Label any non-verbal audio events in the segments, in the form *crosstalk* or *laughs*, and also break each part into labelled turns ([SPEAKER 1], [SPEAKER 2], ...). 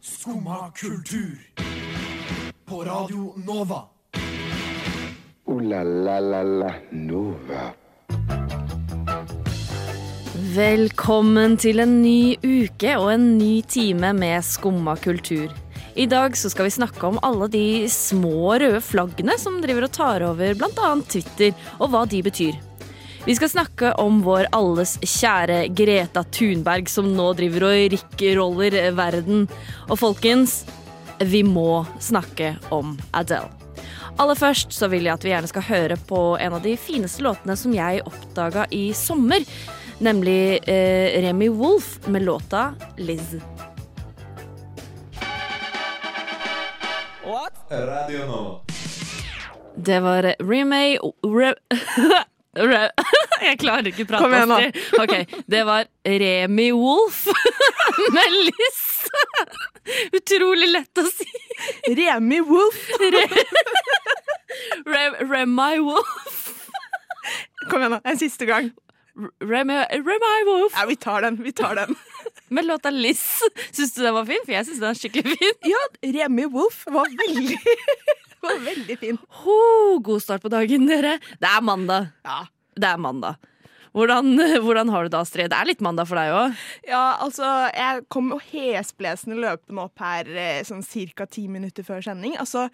[SPEAKER 1] Skumma kultur. På Radio Nova.
[SPEAKER 2] Ooh la la la la Nova.
[SPEAKER 3] Velkommen til en ny uke og en ny time med Skumma kultur. I dag så skal vi snakke om alle de små røde flaggene som driver og tar over bl.a. Twitter, og hva de betyr. Vi skal snakke om vår alles kjære Greta Thunberg som nå driver og rickroller verden. Og folkens, vi må snakke om Adele. Aller først så vil jeg at vi gjerne skal høre på en av de fineste låtene som jeg oppdaga i sommer. Nemlig eh, Remy Wolf med låta Liz.
[SPEAKER 4] Radio Nova.
[SPEAKER 3] Det var Remay Re... *laughs* Re *laughs* jeg klarer ikke å prate.
[SPEAKER 5] Kom igjen nå.
[SPEAKER 3] Astrid. Ok, Det var Remy Wolf *laughs* med Liz. *laughs* Utrolig lett å si.
[SPEAKER 5] Remi Wolf.
[SPEAKER 3] Rem, Remy Wolf.
[SPEAKER 5] Kom igjen, da. En siste gang.
[SPEAKER 3] Remy, Remy Wolf
[SPEAKER 5] Ja, vi tar den. vi tar den.
[SPEAKER 3] med låta Liz. Syns du den var fin? For jeg syns den er skikkelig fin. *laughs*
[SPEAKER 5] Ja, Remi Wolf var veldig, *laughs* var veldig fin.
[SPEAKER 3] Ho, god start på dagen, dere. Det er mandag.
[SPEAKER 5] Ja.
[SPEAKER 3] Det er mandag. Hvordan, *laughs* hvordan har du det, Astrid? Det er litt mandag for deg òg.
[SPEAKER 5] Ja, altså, jeg kom jo hesblesende løpende opp her eh, sånn ca. ti minutter før sending. Altså,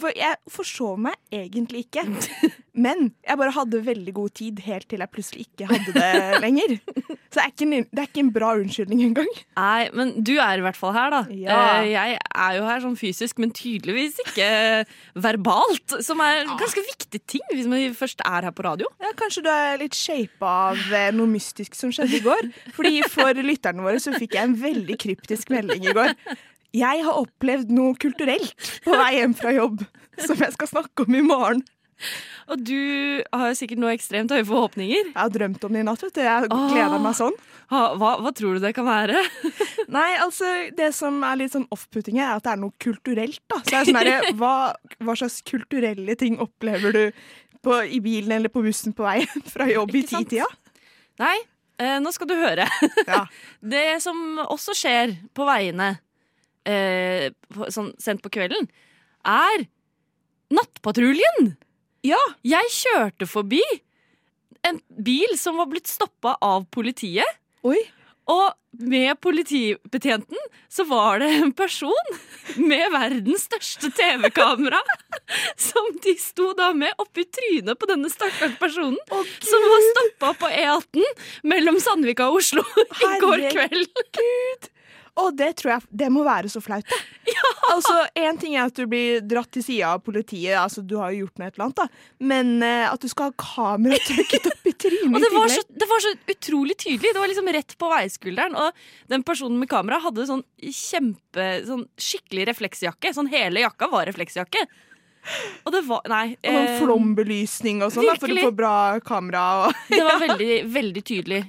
[SPEAKER 5] for jeg forsov meg egentlig *laughs* ikke. Men jeg bare hadde veldig god tid helt til jeg plutselig ikke hadde *laughs* det lenger. Så det er ikke en, det er ikke en bra unnskyldning engang.
[SPEAKER 3] Nei, men du er i hvert fall her, da.
[SPEAKER 5] Ja.
[SPEAKER 3] Eh, Jeg er jo her sånn fysisk, men tydeligvis ikke *laughs* verbalt. Som er en ganske viktig ting hvis man først er her på radio.
[SPEAKER 5] Ja, kanskje du er litt shapa av eh, noe mystisk som skjedde i går. Fordi For lytterne våre så fikk jeg en veldig kryptisk melding i går. Jeg har opplevd noe kulturelt på vei hjem fra jobb som jeg skal snakke om i morgen.
[SPEAKER 3] Og du har sikkert noe ekstremt høye forhåpninger.
[SPEAKER 5] Jeg har drømt om det i natt. vet du. Jeg
[SPEAKER 3] Åh.
[SPEAKER 5] gleder meg sånn.
[SPEAKER 3] Ha, hva, hva tror du det kan være? *laughs*
[SPEAKER 5] Nei, altså, Det som er litt sånn off-putting, her, er at det er noe kulturelt. da. Så det er sånn her, hva, hva slags kulturelle ting opplever du på, i bilen eller på bussen på vei hjem fra jobb i
[SPEAKER 3] Ikke sant?
[SPEAKER 5] titida?
[SPEAKER 3] Nei, eh, nå skal du høre.
[SPEAKER 5] Ja.
[SPEAKER 3] Det som også skjer på veiene eh, på, sånn, sent på kvelden, er Nattpatruljen!
[SPEAKER 5] Ja.
[SPEAKER 3] Jeg kjørte forbi en bil som var blitt stoppa av politiet.
[SPEAKER 5] Oi.
[SPEAKER 3] Og med politibetjenten så var det en person med verdens største TV-kamera *laughs* som de sto da med oppi trynet på denne stakkars personen.
[SPEAKER 5] Å,
[SPEAKER 3] som var stoppa på E18 mellom Sandvika og Oslo i går
[SPEAKER 5] Herregud.
[SPEAKER 3] kveld.
[SPEAKER 5] Og det tror jeg Det må være så flaut, da.
[SPEAKER 3] *laughs*
[SPEAKER 5] Altså, Én ting er at du blir dratt til sida av politiet, altså du har jo gjort noe et eller annet, da. Men eh, at du skal ha kamera trykket opp i
[SPEAKER 3] *laughs*
[SPEAKER 5] trynet
[SPEAKER 3] Og
[SPEAKER 5] i
[SPEAKER 3] det var,
[SPEAKER 5] tillegg.
[SPEAKER 3] så, det var så utrolig tydelig. Det var liksom rett på veiskulderen. Og den personen med kamera hadde sånn kjempe sånn skikkelig refleksjakke. Sånn hele jakka var refleksjakke. Og det var Nei.
[SPEAKER 5] Og sånn
[SPEAKER 3] eh,
[SPEAKER 5] flombelysning og sånn, da, for å
[SPEAKER 3] virkelig.
[SPEAKER 5] få bra kamera og
[SPEAKER 3] *laughs*
[SPEAKER 5] *laughs*
[SPEAKER 3] det *laughs* var veldig, veldig tydelig.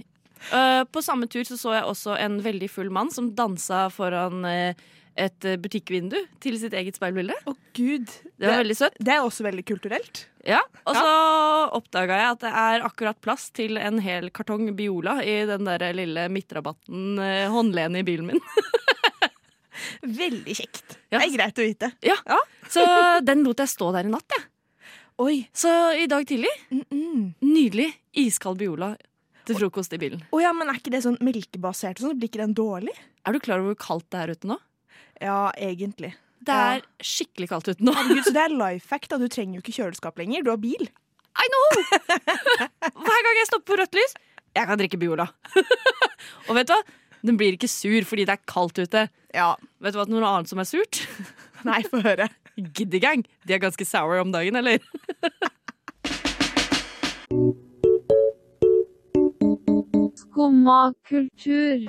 [SPEAKER 3] Eh, på samme tur så, så jeg også en veldig full mann som dansa foran eh, et eh, butikkvindu til sitt eget speilbilde.
[SPEAKER 5] Å, gud.
[SPEAKER 3] Det var veldig søtt.
[SPEAKER 5] det er også veldig kulturelt.
[SPEAKER 3] Ja, og så oppdaga jeg at det er akkurat plass til en hel kartong Biola i den der lille midtrabatten, eh, håndlenet i bilen min.
[SPEAKER 5] Veldig kjekt.
[SPEAKER 3] Ja.
[SPEAKER 5] Det er greit å vite.
[SPEAKER 3] Ja. Så den lot jeg stå der i natt, jeg.
[SPEAKER 5] Oi.
[SPEAKER 3] Så i dag tidlig,
[SPEAKER 5] Mm -mm.
[SPEAKER 3] nydelig iskald Biola til frokost i bilen.
[SPEAKER 5] Å ja, men er ikke det sånn melkebasert og sånn? Blir ikke den dårlig?
[SPEAKER 3] Er du klar over hvor kaldt det er ute nå?
[SPEAKER 5] Ja, egentlig.
[SPEAKER 3] Det er skikkelig kaldt ute nå.
[SPEAKER 5] Gud, så det er life fact, da. Du trenger jo ikke kjøleskap lenger. Du har bil.
[SPEAKER 3] I know! *laughs* Hver gang jeg stopper på rødt lys, jeg kan drikke Biola. *laughs* og vet du hva? Den blir ikke sur fordi det er kaldt ute.
[SPEAKER 5] Ja.
[SPEAKER 3] Vet du hva noe annet som er surt?
[SPEAKER 5] *laughs*
[SPEAKER 3] *laughs*
[SPEAKER 5] Nei, få høre.
[SPEAKER 3] Giddegang. De er ganske sour om dagen, eller?
[SPEAKER 6] Skumma kultur.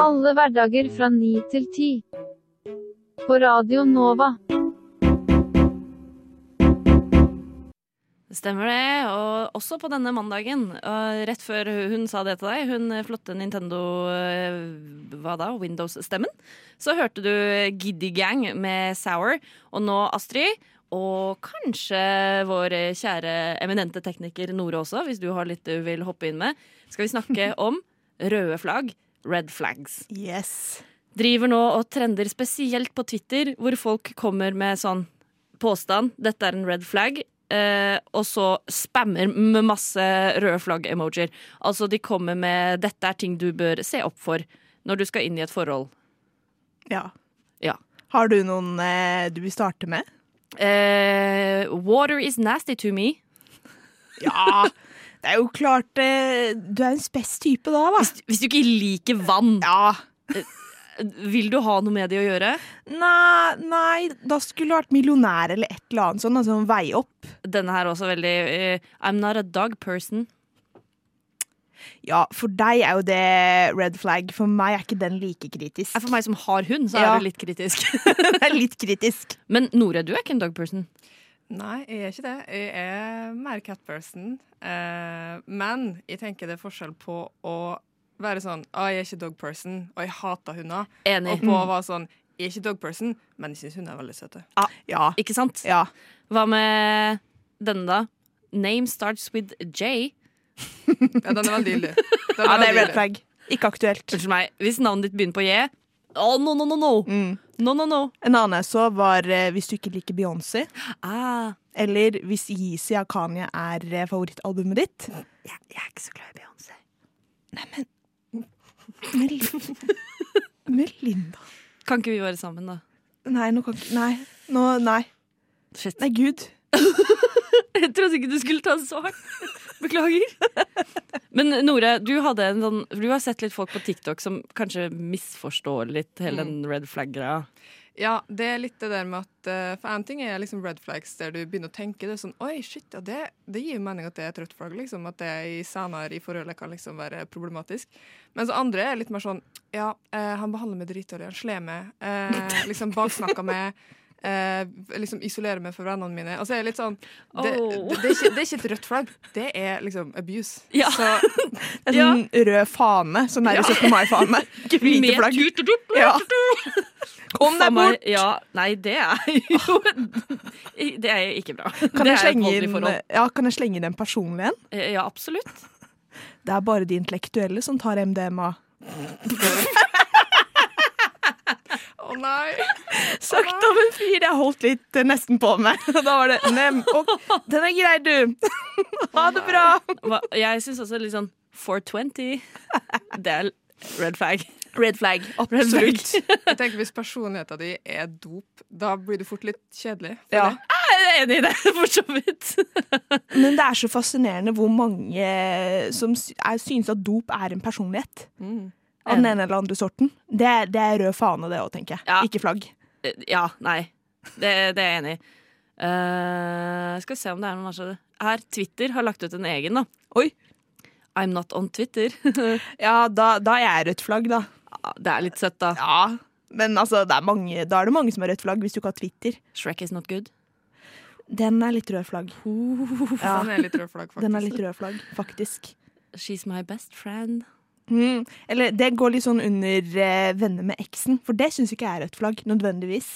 [SPEAKER 6] Alle hverdager fra 9 til 10. På Radio Nova.
[SPEAKER 3] Det Stemmer det. Og også på denne mandagen, og rett før hun sa det til deg, hun flotte Nintendo eh, Hva da? Windows-stemmen. Så hørte du Giddy Gang med Sour, og nå Astrid. Og kanskje vår kjære eminente tekniker Nore også, hvis du har litt du vil hoppe inn med. Skal vi snakke om røde flagg red flags.
[SPEAKER 5] Yes.
[SPEAKER 3] Driver nå og trender spesielt på Twitter, hvor folk kommer med sånn påstand 'dette er en red flag', eh, og så spammer med masse røde flagg-emojier. Altså de kommer med 'dette er ting du bør se opp for når du skal inn i et forhold'.
[SPEAKER 5] Ja.
[SPEAKER 3] Ja.
[SPEAKER 5] Har du noen eh, du vil starte med?
[SPEAKER 3] Eh, 'Water is nasty to me'.
[SPEAKER 5] Ja. *laughs* Det er jo klart eh, Du er en spes type da, hva?
[SPEAKER 3] Hvis du ikke liker vann,
[SPEAKER 5] Ja.
[SPEAKER 3] vil du ha noe med det å gjøre?
[SPEAKER 5] Nei, nei, da skulle du vært millionær eller et eller annet sånn. Altså en vei opp.
[SPEAKER 3] Denne her er også veldig eh, 'I'm not a dog person'.
[SPEAKER 5] Ja, for deg er jo det red flag. For meg er ikke den like kritisk.
[SPEAKER 3] Er for meg som har hund, så
[SPEAKER 5] Ja.
[SPEAKER 3] er det litt kritisk. *laughs*
[SPEAKER 5] Det er litt kritisk.
[SPEAKER 3] Men Nora, du er ikke en dog person.
[SPEAKER 4] Nei, jeg er ikke det. Jeg er mer cat-person. Eh, men jeg tenker det er forskjell på å være sånn ah, 'Jeg er ikke dog-person, og jeg hater hunder',
[SPEAKER 3] Enig.
[SPEAKER 4] og på å være sånn 'Jeg er ikke dog-person, men jeg syns hunder er veldig søte'.
[SPEAKER 5] Ja.
[SPEAKER 3] Ikke sant?
[SPEAKER 5] ja.
[SPEAKER 3] Hva med denne, da? Name starts with J.
[SPEAKER 4] Ja, den er veldig ille.
[SPEAKER 5] *laughs*
[SPEAKER 4] Den
[SPEAKER 5] ja, det er red
[SPEAKER 4] veldig ille.
[SPEAKER 5] flag. Ikke aktuelt.
[SPEAKER 3] Unnskyld meg, hvis navnet ditt begynner på J Oh, no, no, no, no!
[SPEAKER 5] Mm.
[SPEAKER 3] No, no, no.
[SPEAKER 5] En annen jeg så, var eh, hvis du ikke liker Beyoncé,
[SPEAKER 3] Ah,
[SPEAKER 5] eller hvis Yeezy av Kanye er eh, favorittalbumet ditt.
[SPEAKER 3] jeg, jeg er ikke så glad i Beyoncé.
[SPEAKER 5] *laughs* Melinda. Melinda.
[SPEAKER 3] Kan ikke vi være sammen, da?
[SPEAKER 5] Nei, nå kan ikke Nei. Nå, nei.
[SPEAKER 3] Shit.
[SPEAKER 5] Nei, gud.
[SPEAKER 3] *laughs* Jeg trodde ikke du skulle ta det så hardt. *laughs* Beklager. *laughs* Men Nora, du, hadde en sånn, du har sett litt folk på TikTok som kanskje misforstår litt hele den red flag-greia.
[SPEAKER 4] Ja, det er litt det der med at eh, For en ting er liksom red flags der du begynner å tenke det er sånn Oi, shit, ja, det, det gir jo mening at det er et rødt flagg, liksom. At det i senere i forholdet kan liksom være problematisk. Men så andre er litt mer sånn Ja, eh, han behandler meg dritdårlig, han slår meg, eh, liksom baksnakker meg. eh, liksom isolerer meg fra vennene mine. Altså, jeg er litt sånn det,
[SPEAKER 3] Oh.
[SPEAKER 4] det, det, er ikke, det er ikke et rødt flagg. Det er liksom abuse.
[SPEAKER 3] Ja.
[SPEAKER 4] Så
[SPEAKER 5] En sånn rød fane. Sånn der 17.
[SPEAKER 3] *laughs*
[SPEAKER 5] mai-fane. Ikke hvite
[SPEAKER 3] Med
[SPEAKER 5] flagg.
[SPEAKER 3] tut og tut.
[SPEAKER 5] Ja. Kom
[SPEAKER 3] Faen
[SPEAKER 5] deg
[SPEAKER 3] meg,
[SPEAKER 5] bort!
[SPEAKER 3] Ja, nei, det er jo *laughs* Det er ikke bra.
[SPEAKER 5] Kan
[SPEAKER 3] det er
[SPEAKER 5] jeg,
[SPEAKER 3] et
[SPEAKER 5] slenge
[SPEAKER 3] voldelig
[SPEAKER 5] inn,
[SPEAKER 3] forhold.
[SPEAKER 5] ja, kan jeg slenge inn en personlig en?
[SPEAKER 3] Eh, Ja, absolutt.
[SPEAKER 5] Det er bare de intellektuelle som tar MDMA.
[SPEAKER 4] Å nei!
[SPEAKER 5] Sagt av en fyr jeg holdt litt eh, nesten på med. Og *laughs* da var det nem. Og, den er grei, du. *laughs* Ha det bra.
[SPEAKER 3] Hva- Jeg syns også litt sånn 420 Det er red flag. Red flag.
[SPEAKER 5] Absolutt.
[SPEAKER 4] Jeg tenker Hvis personligheten din er dop, da blir du fort litt kjedelig.
[SPEAKER 5] Ja.
[SPEAKER 3] Jeg er enig i det, *laughs* for så vidt.
[SPEAKER 5] Men det er så fascinerende hvor mange som sy- er, synes at dop er en personlighet.
[SPEAKER 4] Mm.
[SPEAKER 5] Av den ene eller andre sorten. Det, er- det er rød fane, det òg, tenker jeg.
[SPEAKER 3] Ja.
[SPEAKER 5] Ikke flagg.
[SPEAKER 3] Eh, Ja, nei. Det, det er jeg enig i. Eh, skal vi se om det er noen som Her, Twitter har lagt ut en egen, da.
[SPEAKER 5] Oi.
[SPEAKER 3] I'm not on *laughs* Twitter.
[SPEAKER 5] Ja, da, da er jeg rødt flagg, da.
[SPEAKER 3] Ja, Det er litt søtt, da.
[SPEAKER 5] Ja. Men altså, det er mange, da er det mange som har rødt flagg hvis du ikke har Twitter.
[SPEAKER 3] Shrek is not good.
[SPEAKER 5] Den er litt rød flagg. Ja,
[SPEAKER 4] Den er litt rød flagg, faktisk.
[SPEAKER 5] *laughs* den Uh, er litt rød flagg, faktisk.
[SPEAKER 3] She's my best friend.
[SPEAKER 5] Mm. Eller det går litt sånn under eh, venner med eksen, for det syns ikke jeg er rødt flagg, nødvendigvis.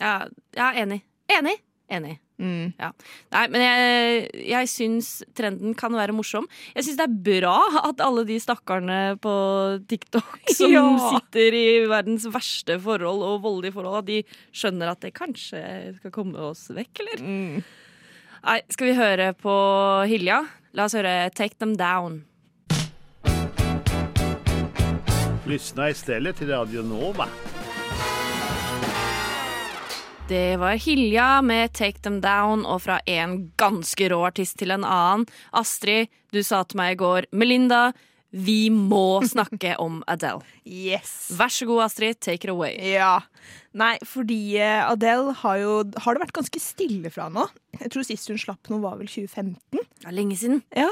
[SPEAKER 3] Ja, ja enig. Enig. Enig.
[SPEAKER 5] Mm.
[SPEAKER 3] Nei, men jeg, jeg syns trenden kan være morsom. Jeg syns det er bra at alle de stakkarene på
[SPEAKER 5] *laughs*
[SPEAKER 3] TikTok som
[SPEAKER 5] Ja.
[SPEAKER 3] sitter i verdens verste forhold og voldelige forhold, at de skjønner at det kanskje skal komme oss vekk, eller?
[SPEAKER 5] Mm.
[SPEAKER 3] Nei, skal vi høre på Hilja? La oss høre Take Them Down.
[SPEAKER 7] Lyssna istället till Radio Nova.
[SPEAKER 3] Det var Hilja med Take Them Down, og fra en ganske rå artist til en annen. Astrid, du sa til meg i går Melinda, vi
[SPEAKER 5] *laughs*
[SPEAKER 3] må snakke om Adele.
[SPEAKER 5] Yes.
[SPEAKER 3] Vær så god, Astrid, take it away.
[SPEAKER 5] Ja. Nei, fordi eh, Adele har jo Har det vært ganske stille fra nå? Jeg tror sist hun slapp noe, var vel 2015.
[SPEAKER 3] Det er lenge siden.
[SPEAKER 5] Ja.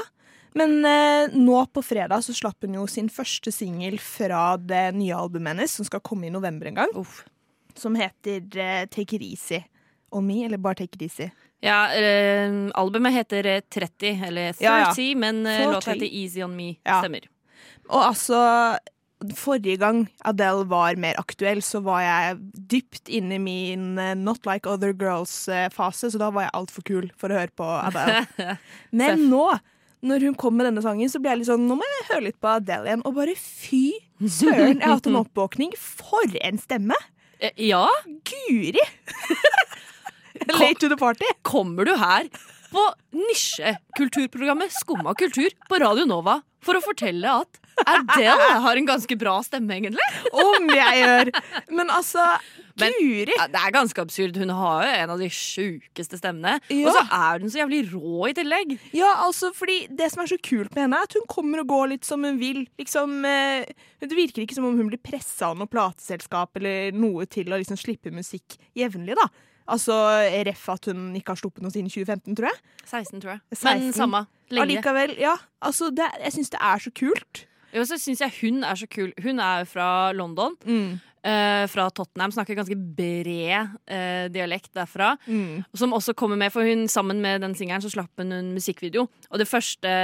[SPEAKER 5] Men eh, nå på fredag så slapp hun jo sin første singel fra det nye albumet hennes, som skal komme i november en gang,
[SPEAKER 3] Uff.
[SPEAKER 5] som heter eh, Take It Easy. On Me, eller bare Take It Easy.
[SPEAKER 3] Ja, eh, albumet heter eh, 30, eller 30,
[SPEAKER 5] Ja, ja.
[SPEAKER 3] men eh,
[SPEAKER 5] 40.
[SPEAKER 3] låta heter Easy On Me.
[SPEAKER 5] Ja.
[SPEAKER 3] Stemmer.
[SPEAKER 5] Og altså Forrige gang Adele var mer aktuell, så var jeg dypt inne i min eh, Not Like Other Girls-fase, så da var jeg altfor kul for å høre på Adele. Men nå, når hun kom med denne sangen, så ble jeg litt sånn Nå må jeg høre litt på Adele igjen. Og bare fy Søren, jeg har hatt en oppvåkning. For en stemme!
[SPEAKER 3] Eh,
[SPEAKER 5] *laughs*
[SPEAKER 3] Ja,
[SPEAKER 5] Guri! Late to the party.
[SPEAKER 3] kommer du her på nisjekulturprogrammet Skumma kultur på Radio Nova for å fortelle at Adele har en ganske bra stemme, egentlig?
[SPEAKER 5] Om jeg gjør! Men altså,
[SPEAKER 3] Men- *laughs*
[SPEAKER 5] guri!
[SPEAKER 3] Ja, det er ganske absurd. Hun har jo en av de sjukeste stemmene.
[SPEAKER 5] Ja.
[SPEAKER 3] Og så er hun så jævlig rå i tillegg.
[SPEAKER 5] Ja, altså, fordi Det som er så kult med henne, er at hun kommer og går litt som hun vil. Liksom, eh, Det virker ikke som om hun blir pressa av noe plateselskap eller noe til å liksom slippe musikk jevnlig. da. Altså ref at hun ikke har sluppet noe siden 2015, tror jeg.
[SPEAKER 3] 16, tror jeg.
[SPEAKER 5] 16.
[SPEAKER 3] Men samme. Lenge.
[SPEAKER 5] Allikevel, ja. Altså, det, er- jeg syns det er så kult.
[SPEAKER 3] Jo, så syns jeg hun er så kul. Hun er jo fra London.
[SPEAKER 5] Mm.
[SPEAKER 3] eh, fra Tottenham. Snakker ganske bred eh, dialekt derfra. Som også kommer med, for hun Sammen med den singelen så slapp hun en musikkvideo. Og det første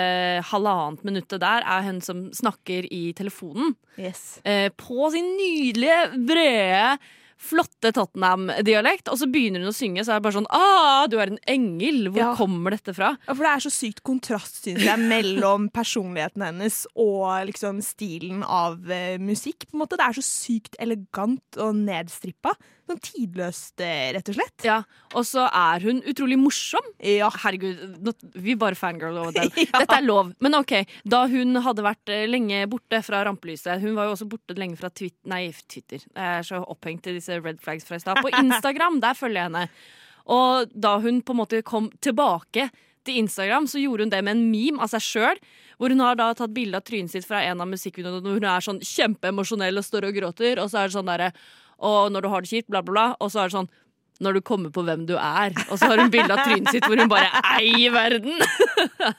[SPEAKER 3] halvannet minuttet der er hun som snakker i telefonen.
[SPEAKER 5] Yes.
[SPEAKER 3] eh, på sin nydelige, brede, flotte Tottenham-dialekt. Og så begynner hun å synge, så er det bare sånn ah, du er en engel! Hvor
[SPEAKER 5] Ja.
[SPEAKER 3] kommer dette fra?
[SPEAKER 5] Ja, for det er så sykt kontrast, syns jeg, mellom *laughs* personligheten hennes og liksom stilen av eh, musikk. på en måte. Det er så sykt elegant og nedstrippa. Sånn tidløst, eh, rett og slett.
[SPEAKER 3] Ja, Og så er hun utrolig morsom.
[SPEAKER 5] Ja.
[SPEAKER 3] Herregud, nå- vi bare fangirl over den. Dette er lov. Men ok, da hun hadde vært eh, lenge borte fra rampelyset Hun var jo også borte lenge fra Twitter Nei, Twitter. Jeg er så opphengt i disse red flags fra i stad. På Instagram, der følger jeg henne. Og da hun på en måte kom tilbake til Instagram, så gjorde hun det med en meme av seg sjøl. Hvor hun har da tatt bilde av trynet sitt fra en av musikkvideoene hvor hun er sånn kjempeemosjonell og står og gråter. Og så er det sånn derre Og når du har det kjipt, bla, bla, bla. Og så er det sånn når du kommer på hvem du er. Og så har hun bilde av trynet sitt hvor hun bare Ei, verden! *laughs*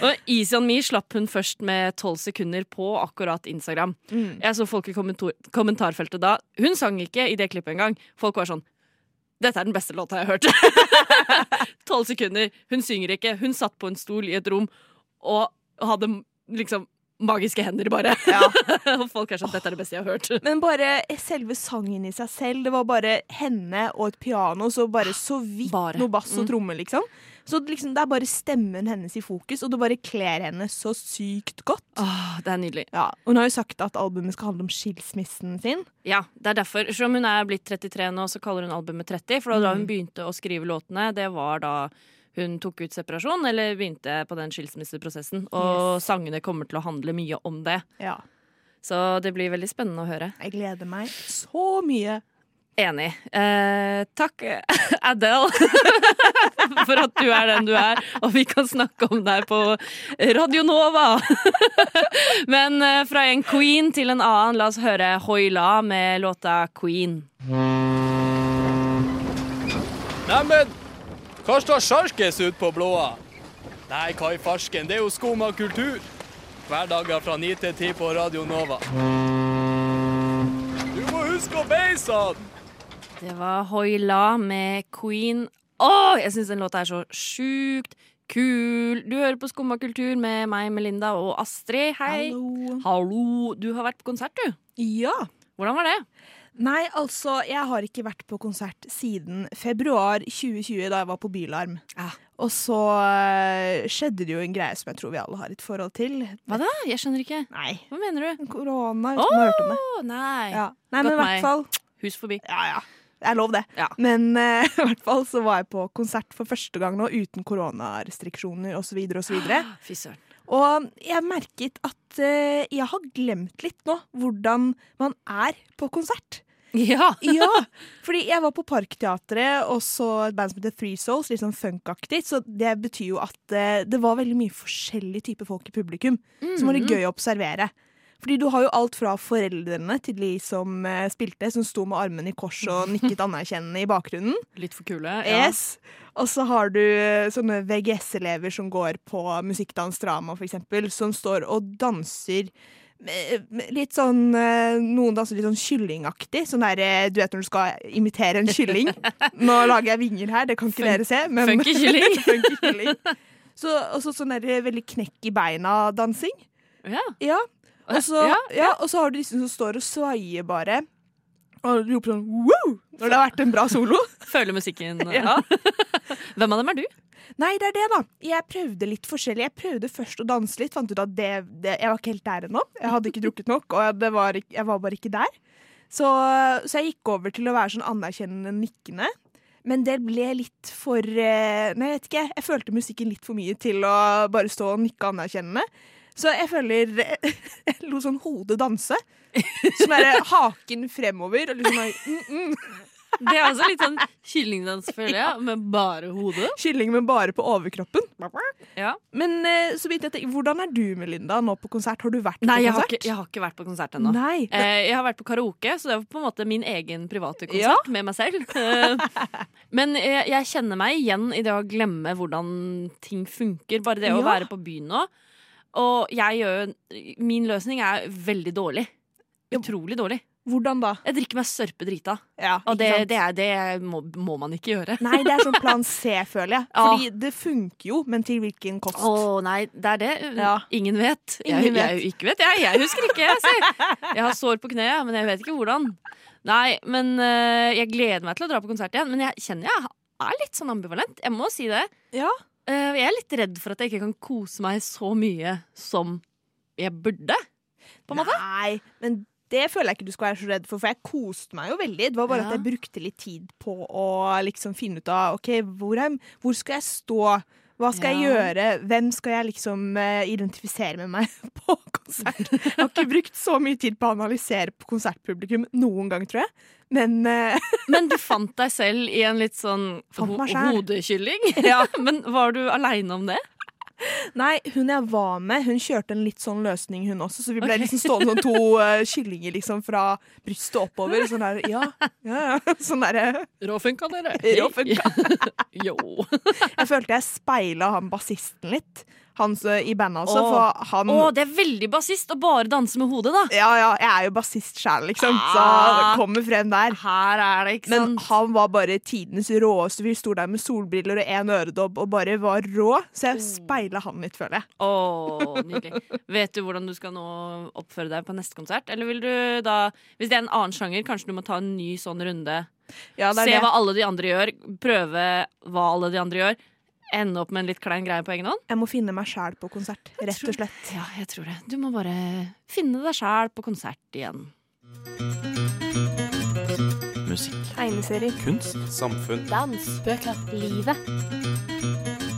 [SPEAKER 3] og Easy on me slapp hun først med tolv sekunder på akkurat Instagram.
[SPEAKER 5] Mm.
[SPEAKER 3] Jeg så folk i kommentor- kommentarfeltet da. Hun sang ikke i det klippet engang. Folk var sånn dette er den beste låta jeg har hørt. *laughs* Tolv sekunder. Hun synger ikke. Hun satt på en stol i et rom og hadde liksom magiske hender, bare. *laughs* og folk er sånn Dette er det beste jeg har hørt.
[SPEAKER 5] Men bare selve sangen i seg selv. Det var bare henne og et piano, så bare så vidt
[SPEAKER 3] Bare.
[SPEAKER 5] noe bass og tromme, liksom. Så liksom, det er bare stemmen hennes i fokus, og det bare kler henne så sykt godt.
[SPEAKER 3] Åh, det er nydelig.
[SPEAKER 5] Ja, Hun har jo sagt at albumet skal handle om skilsmissen sin.
[SPEAKER 3] Ja, det er derfor. Selv om hun er blitt 33 nå, så kaller hun albumet 30. For da hun begynte å skrive låtene, det var da hun tok ut separasjon, eller begynte på den skilsmisseprosessen. Og sangene kommer til å handle mye om det.
[SPEAKER 5] Ja,
[SPEAKER 3] Så det blir veldig spennende å høre.
[SPEAKER 5] Jeg gleder meg så mye.
[SPEAKER 3] Enig. Eh, takk, *laughs* Adele, for at du er den du er, og vi kan snakke om deg på Radio Nova. *laughs* Men eh, fra en queen til en annen, la oss høre Hoila med låta 'Queen'.
[SPEAKER 8] Neimen, hva står sjarkes ut på blåa? Nei, hva i farsken, det er jo skum av kultur. Hverdager fra 9 til 10 på Radio Nova. Du må huske å beise han!
[SPEAKER 3] Det var Hoila med Queen. Å, jeg syns den låta er så sjukt kul! Du hører på Skumma kultur med meg, Melinda og Astrid. Hei!
[SPEAKER 5] Hallo.
[SPEAKER 3] Hallo. Du har vært på konsert, du.
[SPEAKER 5] Ja.
[SPEAKER 3] Hvordan var det?
[SPEAKER 5] Nei, altså, jeg har ikke vært på konsert siden februar 2020, da jeg var på Bylarm.
[SPEAKER 3] Ah.
[SPEAKER 5] Og så eh, skjedde det jo en greie som jeg tror vi alle har et forhold til.
[SPEAKER 3] Hva da? Jeg skjønner ikke.
[SPEAKER 5] Nei.
[SPEAKER 3] Hva mener du?
[SPEAKER 5] Korona, hvis
[SPEAKER 3] Åh,
[SPEAKER 5] man har hørt om det.
[SPEAKER 3] nei.
[SPEAKER 5] Ja. Nei, men i
[SPEAKER 3] Godt meg.
[SPEAKER 5] hvert fall
[SPEAKER 3] Hus forbi.
[SPEAKER 5] Ja, ja. Det er lov, det.
[SPEAKER 3] Ja.
[SPEAKER 5] Men eh, *laughs* i hvert fall så var jeg på konsert for første gang nå uten koronarestriksjoner osv. Og, så videre.
[SPEAKER 3] *gasps* Fy søren.
[SPEAKER 5] og jeg merket at eh, jeg har glemt litt nå hvordan man er på konsert.
[SPEAKER 3] Ja.
[SPEAKER 5] Ja, fordi jeg var på Parkteatret og så et band som heter Three Souls, litt sånn funkaktig. Så det betyr jo at eh, det var veldig mye forskjellige typer folk i publikum. Som var litt gøy å observere. Fordi du har jo alt fra foreldrene til de som eh, spilte, som sto med armene i kors og nikket anerkjennende i bakgrunnen.
[SPEAKER 3] Litt for kule.
[SPEAKER 5] Yes. Og så har du eh, sånne VGS-elever som går på musikkdans drama, for eksempel, som står og danser med- med litt sånn eh, Noen danser litt sånn kyllingaktig. Sånn der, eh, du vet når du skal imitere en kylling.
[SPEAKER 3] *laughs*
[SPEAKER 5] Nå lager jeg vinger her, det kan ikke
[SPEAKER 3] Fun-
[SPEAKER 5] dere se. Men *laughs*
[SPEAKER 3] funky kylling.
[SPEAKER 5] funky kylling. Så, og så sånn der eh, veldig knekk i beina-dansing.
[SPEAKER 3] Ja.
[SPEAKER 5] Ja. Og så,
[SPEAKER 3] Ja,
[SPEAKER 5] ja, og så har du disse som står og svaier bare. Og roper sånn wow! Når det har vært en bra solo.
[SPEAKER 3] *laughs* Føler musikken.
[SPEAKER 5] Ja.
[SPEAKER 3] Hvem av dem er du?
[SPEAKER 5] Nei, det er det, da. Jeg prøvde litt forskjellig. Jeg prøvde først å danse litt. Fant ut at det, det, jeg var ikke helt der ennå. Jeg hadde ikke drukket nok, og det var, ikk- jeg var bare ikke der. Så, så jeg gikk over til å være sånn anerkjennende nikkende. Men det ble litt for eh, Nei, jeg vet ikke. Jeg følte musikken litt for mye til å bare stå og nikke anerkjennende. Så jeg føler *laughs* Jeg lot sånn hodet danse. Sånn derre haken fremover. Og liksom bare, mm, mm.
[SPEAKER 3] Det er også litt sånn kyllingdans, føler *laughs* jeg, med bare hodet.
[SPEAKER 5] Kylling, men bare på overkroppen.
[SPEAKER 3] Ja.
[SPEAKER 5] Men eh, så vidt jeg tenker, hvordan er du, Melinda, nå på konsert? Har du vært
[SPEAKER 3] Nei,
[SPEAKER 5] på
[SPEAKER 3] jeg har,
[SPEAKER 5] konsert?
[SPEAKER 3] ikke, jeg har ikke vært på konsert ennå.
[SPEAKER 5] Nei.
[SPEAKER 3] Eh, jeg har vært på karaoke, så det var på en måte min egen private konsert med meg selv. Eh, Men jeg, jeg kjenner meg igjen i det å glemme hvordan ting funker. Bare det å
[SPEAKER 5] Ja.
[SPEAKER 3] være på byen nå. Og jeg gjør jo Min løsning er veldig dårlig. Utrolig dårlig.
[SPEAKER 5] Hvordan da?
[SPEAKER 3] Jeg drikker meg sørpedrita.
[SPEAKER 5] Ja,
[SPEAKER 3] Og det,
[SPEAKER 5] ikke sant?
[SPEAKER 3] det, er, det må, må man ikke gjøre.
[SPEAKER 5] Nei, det er sånn plan C, føler jeg.
[SPEAKER 3] *laughs* Ja.
[SPEAKER 5] Fordi det funker jo, men til hvilken kost?
[SPEAKER 3] Å nei, det er det.
[SPEAKER 5] Ja.
[SPEAKER 3] Ingen vet. jeg,
[SPEAKER 5] Ingen
[SPEAKER 3] Jeg, ikke vet jeg. Jeg husker ikke. Jeg, sier. jeg har sår på kneet, men jeg vet ikke hvordan. Nei, men øh, jeg gleder meg til å dra på konsert igjen. Men jeg kjenner jeg er litt sånn ambivalent. Jeg må si det.
[SPEAKER 5] Ja.
[SPEAKER 3] Øh, jeg er litt redd for at jeg ikke kan kose meg så mye som jeg burde. På en måte.
[SPEAKER 5] Nei, men det føler jeg ikke du skal være så redd for, for jeg koste meg jo veldig. Det var bare
[SPEAKER 3] Ja.
[SPEAKER 5] at jeg brukte litt tid på å liksom finne ut av OK, hvor, er, hvor skal jeg stå? Hva skal jeg
[SPEAKER 3] Ja.
[SPEAKER 5] gjøre? Hvem skal jeg liksom eh, identifisere med meg *laughs* på konsert? Jeg har ikke brukt så mye tid på å analysere på konsertpublikum noen gang, tror jeg. Men eh, *laughs*
[SPEAKER 3] Men du fant deg selv i en litt sånn
[SPEAKER 5] Fant meg selv.
[SPEAKER 3] hodekylling.
[SPEAKER 5] *laughs*
[SPEAKER 3] *laughs* men var du aleine om det?
[SPEAKER 5] nei, hun jeg var med, hun kjørte en litt sånn løsning, hun også. Så vi ble
[SPEAKER 3] Ok.
[SPEAKER 5] liksom stående sånn to eh, kyllinger liksom fra brystet oppover. Sånn der, ja, ja, *laughs* ja. Sånn derre
[SPEAKER 3] Råfunka, dere. *laughs*
[SPEAKER 5] Råfunka.
[SPEAKER 3] jo.
[SPEAKER 5] Jeg følte jeg speila han bassisten litt. Han som- i bandet altså.
[SPEAKER 3] Åh.
[SPEAKER 5] For han
[SPEAKER 3] Å, det er veldig bassist å bare danse med hodet, da.
[SPEAKER 5] Ja ja, jeg er jo bassist sjæl, liksom. Så
[SPEAKER 3] Ah.
[SPEAKER 5] det kommer frem der.
[SPEAKER 3] Her er det, ikke
[SPEAKER 5] Men
[SPEAKER 3] sant?
[SPEAKER 5] han var bare tidenes råeste fyr. Sto der med solbriller og én øredobb og bare var rå. Så jeg speila han litt, føler jeg.
[SPEAKER 3] Åh, nydelig. Vet du hvordan du skal nå oppføre deg på neste konsert? Eller vil du da, hvis det er en annen sjanger, kanskje du må ta en ny sånn runde?
[SPEAKER 5] Ja,
[SPEAKER 3] Se hva alle de andre gjør, prøve hva alle de andre gjør. Ende opp med en litt klein greie på egen hånd?
[SPEAKER 5] Jeg må finne meg sjæl på konsert, rett og slett.
[SPEAKER 3] Ja, jeg tror det. Du må bare finne deg sjæl på konsert igjen.
[SPEAKER 9] Musikk.
[SPEAKER 5] Tegneserier.
[SPEAKER 9] Kunst. Samfunn.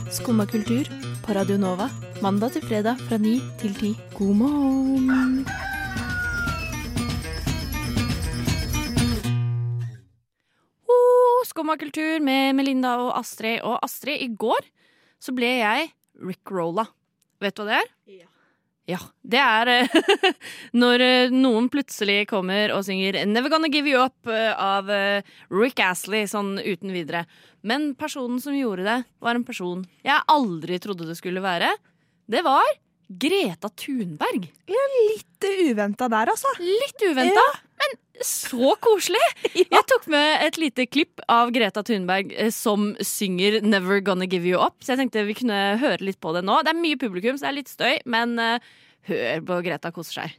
[SPEAKER 10] Skumma kultur på Radio Nova. Mandag til fredag fra 9 til 10. God morgen!
[SPEAKER 3] Oh, Skumma kultur med Melinda og Astrid. Og Astrid, i går så ble jeg rickrolla. Vet du hva det er? Ja. Det er eh, *laughs* når eh, noen plutselig kommer og synger 'Never Gonna Give You Up' eh, av eh, Rick Astley sånn uten videre. Men personen som gjorde det, var en person jeg aldri trodde det skulle være. Det var Greta Thunberg.
[SPEAKER 5] Litt uventa der, altså.
[SPEAKER 3] Litt uventa, men så *laughs* koselig! Jeg tok med et lite klipp av Greta Thunberg eh, som synger 'Never Gonna Give You Up'. Så jeg tenkte vi kunne høre litt på det nå. Det er mye publikum, så det er litt støy, men eh, hør på Greta koser seg.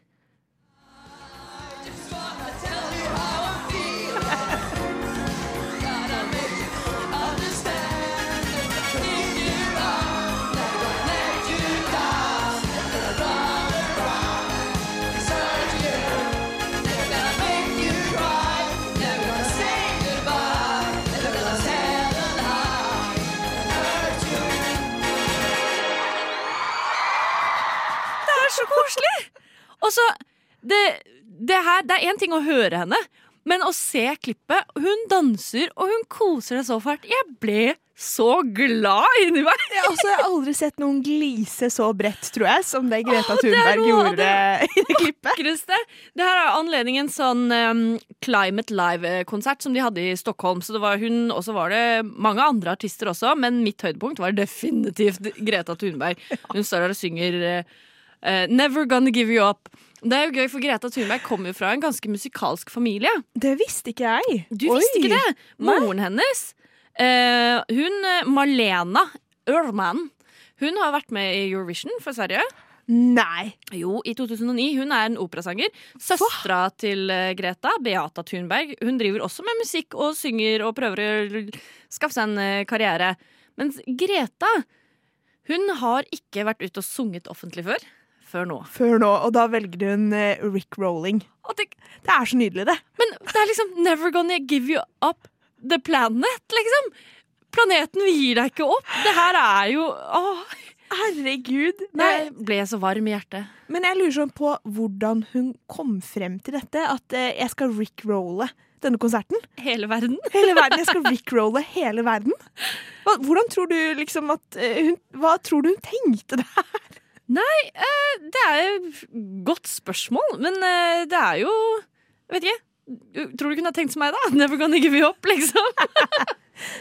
[SPEAKER 3] Det er så koselig! *laughs* Og så det, det, her, det er én ting å høre henne, men å se klippet Hun danser, og hun koser seg så fælt. Jeg ble så glad inni meg!
[SPEAKER 5] Jeg, altså, jeg har aldri sett noen glise så bredt, tror jeg, som det Greta
[SPEAKER 3] Åh, det er
[SPEAKER 5] Thunberg
[SPEAKER 3] noe av
[SPEAKER 5] gjorde *laughs* i det klippet.
[SPEAKER 3] vakreste. Det her er anledningen sånn em, Climate Live-konsert som de hadde i Stockholm. Så det var hun, og så var det mange andre artister også, men mitt høydepunkt var definitivt Greta Thunberg. Hun står der og synger eh, eh, Never Gonna Give You Up. Det er jo gøy, for Greta Thunberg kommer jo fra en ganske musikalsk familie.
[SPEAKER 5] Det visste ikke jeg.
[SPEAKER 3] Du visste
[SPEAKER 5] Oi.
[SPEAKER 3] ikke det? Moren hennes, eh, hun eh, Malena Ørman, hun har vært med i Eurovision for Sverige.
[SPEAKER 5] Nei.
[SPEAKER 3] Jo, i 2009. Hun er en operasanger. Søstera til eh, Greta, Beata Thunberg, hun driver også med musikk og synger og prøver å l- skaffe seg en eh, karriere. Mens Greta, hun har ikke vært ute og sunget offentlig før. Før nå.
[SPEAKER 5] Før nå, og da velger hun eh, Rick Rolling. Det er så nydelig, det.
[SPEAKER 3] Men det er liksom never gonna give you up the planet, liksom. Planeten gir deg ikke opp. Det her er jo Åh,
[SPEAKER 5] Herregud.
[SPEAKER 3] jeg ble så varm i hjertet.
[SPEAKER 5] Men jeg lurer sånn på hvordan hun kom frem til dette. At eh, jeg skal rickrolle denne konserten.
[SPEAKER 3] Hele verden.
[SPEAKER 5] Hele verden, Jeg skal rickrolle hele verden. Hva, hvordan tror du liksom at eh, hun, Hva tror du hun tenkte der?
[SPEAKER 3] Det er et godt spørsmål, men eh, det er jo Jeg vet ikke. Tror du ikke hun har tenkt som meg, da? *laughs* Never gonna give you up, liksom.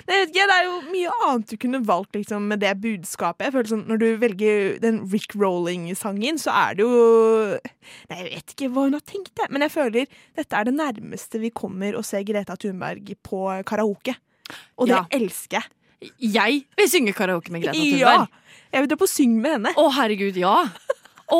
[SPEAKER 5] Det, vet ikke jeg, det er jo mye annet du kunne valgt liksom, med det budskapet. Jeg føler sånn, Når du velger den Rick Rolling-sangen, så er det jo Nei, Jeg vet ikke hva hun har tenkt, jeg. Men jeg føler dette er det nærmeste vi kommer å se Greta Thunberg på karaoke. Og det
[SPEAKER 3] Ja.
[SPEAKER 5] elsker jeg.
[SPEAKER 3] Jeg vil synge karaoke med Greta
[SPEAKER 5] Ja!
[SPEAKER 3] Thunberg.
[SPEAKER 5] Jeg vil dra på syng med henne.
[SPEAKER 3] Å, herregud, ja. Å,